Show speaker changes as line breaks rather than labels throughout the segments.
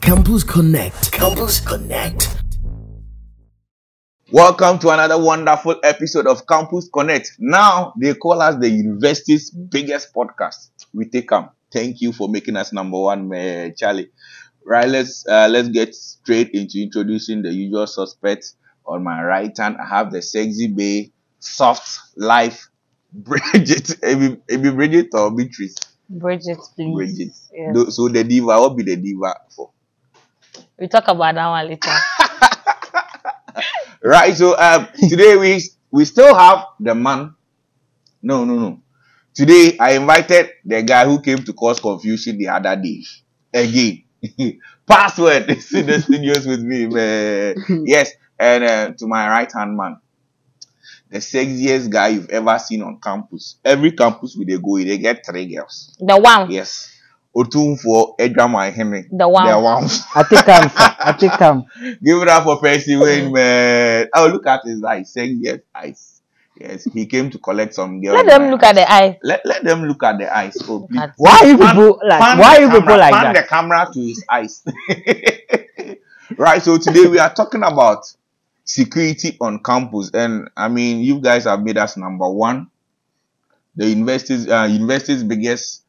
Campus Connect. Campus Connect.
Welcome to another wonderful episode of Campus Connect. Now they call us the university's biggest podcast. We take them. Thank you for making us number one, meh, Charlie. Right, let's uh, let's get straight into introducing the usual suspects. On my right hand, I have the sexy bay, soft life, Bridget, Amy, Amy Bridget or Beatrice.
Bridget, please.
Bridget.
Yes.
Tho- So the diva, what be the diva for?
We talk about that one later.
Right. So um, today we we still have the man. No, no, no. Today I invited the guy who came to cause confusion the other day. Again, password is in the studios with me. man. Yes, and uh, to my right hand man, the sexiest guy you've ever seen on campus. Every campus we they go, they get three girls.
The one.
Yes. Otunfo Edramai Henry.
The one.
The one.
I take him, sir. I take him.
Give it up for Percy Wayne, man. Oh, look at his eyes. Saying yes, eyes. Yes, he came to collect some girls.
Let them look at the eye.
Let, let them look at the eyes. Oh, please.
at-
Why you
Pan-
people
Pan
like? Why
the
you people
camera-
like
pan
that?
the camera to his eyes. right. So today we are talking about security on campus, and I mean, you guys have made us number one, the university's uh, university's biggest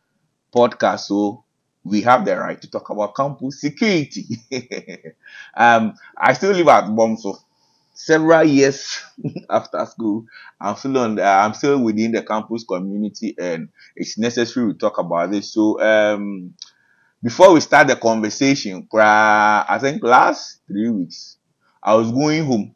podcast. So we have the right to talk about campus security. um, I still live at Bomso. Several years after school, I'm still on. The, I'm still within the campus community, and it's necessary we talk about this. So, um, before we start the conversation, kra- I think last three weeks, I was going home.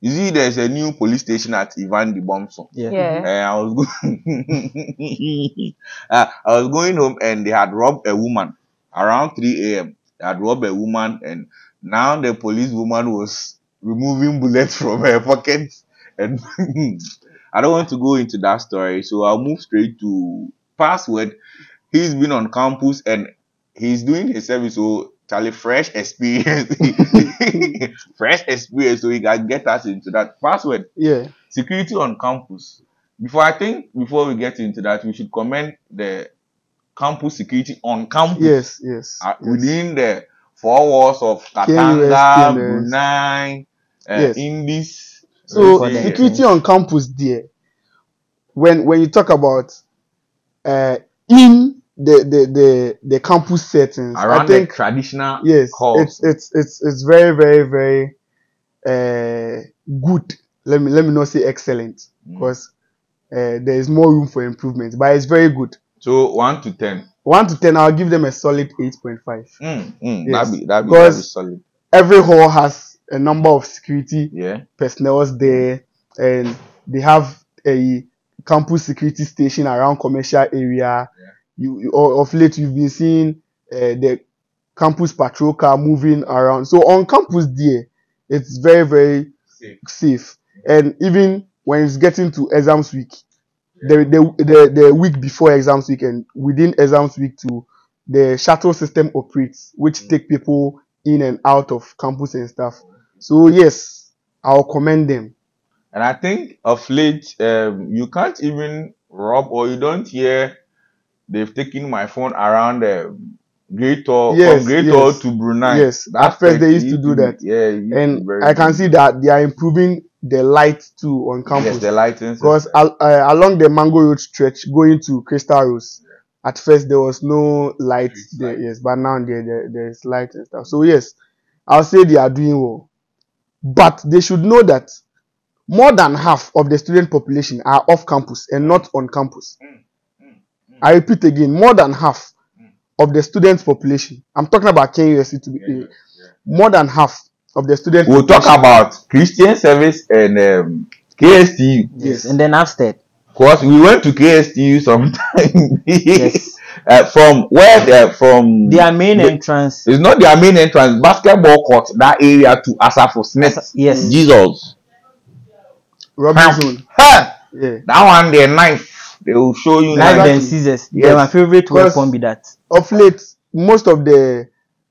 You see, there's a new police station at Ivan de Bomson.
Yeah.
Yeah.
And Eh, I was going, uh, I was going home, and they had robbed a woman around 3 a.m. They had robbed a woman, and now the police woman was removing bullets from her pocket. And I don't want to go into that story, so I'll move straight to password. He's been on campus and he's doing his service. So Charlie, fresh experience, fresh experience. So he can get us into that password
Yeah.
security on campus. Before I think before we get into that, we should commend the campus security on campus
Yes. Yes.
uh,
yes.
within the four walls of Katanga,
KUSTLS.
Brunei, uh,
Yes.
Indies.
So
Yes.
security on campus, there. When when you talk about, uh, in the the the, the campus settings,
around
I think
the traditional
yes,
halls.
it's it's it's it's very very very, uh, good. Let me let me not say excellent
Mm.
because. Uh, there is more room for improvement, but it's very good.
So one to ten.
One to ten, I'll give them a solid eight point five.
Mm, mm, That'd
Yes.
be that'd be, that'd be
Because-
solid.
every hall has a number of security
Yeah.
personnel there and they have a campus security station around commercial area
Yeah.
you, you o- of late you've been seeing uh, the campus patrol car moving around so on campus there it's very very
Safe.
safe and even when it's getting to exams week the, the, the, the week before exams week and within exams week too the shuttle system operates which
Mm.
take people in and out of campus and stuff so yes i'll commend them
And I think of late, um, you can't even rob or you don't hear they've taken my phone around um, Great Hall
Yes,
from Great
yes.
Hall to Brunei.
Yes,
That
at first they
thing
used to do
be-
that.
Yeah, it used to be
and
very
i can
good.
see that they are improving the light too on
Yes,
campus
the lighting.
because
system.
al- uh, along the mango road stretch going to crystal rose at first there was no light
Street
there
light.
yes but now there, there there's light and stuff so yes i'll say they are doing well but they should know that more than half of the student population are off campus and not on campus
Mm,
i repeat again more than half of the student population i'm talking about KUSC to be
Yeah, yeah,
more than half of the student
We'll talk
population-
about Christian service and um, KSTU.
yes
And then Afstead.
Because we went to KSTU sometime.
Yes.
uh, from where? Uh, from
Their main
The-
entrance.
It's not their main entrance. Basketball court, that area to Asafo Smith.
Asa- yes.
Jesus.
robinson
Ha!
yeah
That one, their knife. They will show you
Knife
knife.
Exactly.
and scissors.
Yes.
Yeah, my favorite
Because-
weapon be that.
of late most of the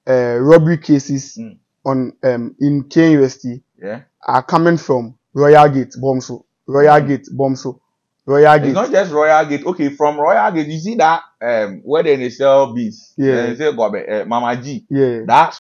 uh, robbery cases
Mm.
on um, in KUST
Yeah.
are coming from Royal Gate Bomso, Royal Gate Bomso, Royal
Hmm. It's
Gate.
not just Royal Gate. Okay, from Royal Gate, you see that um, where they sell beans.
Yeah.
They sell gobe, uh, Mama G.
yeah,
That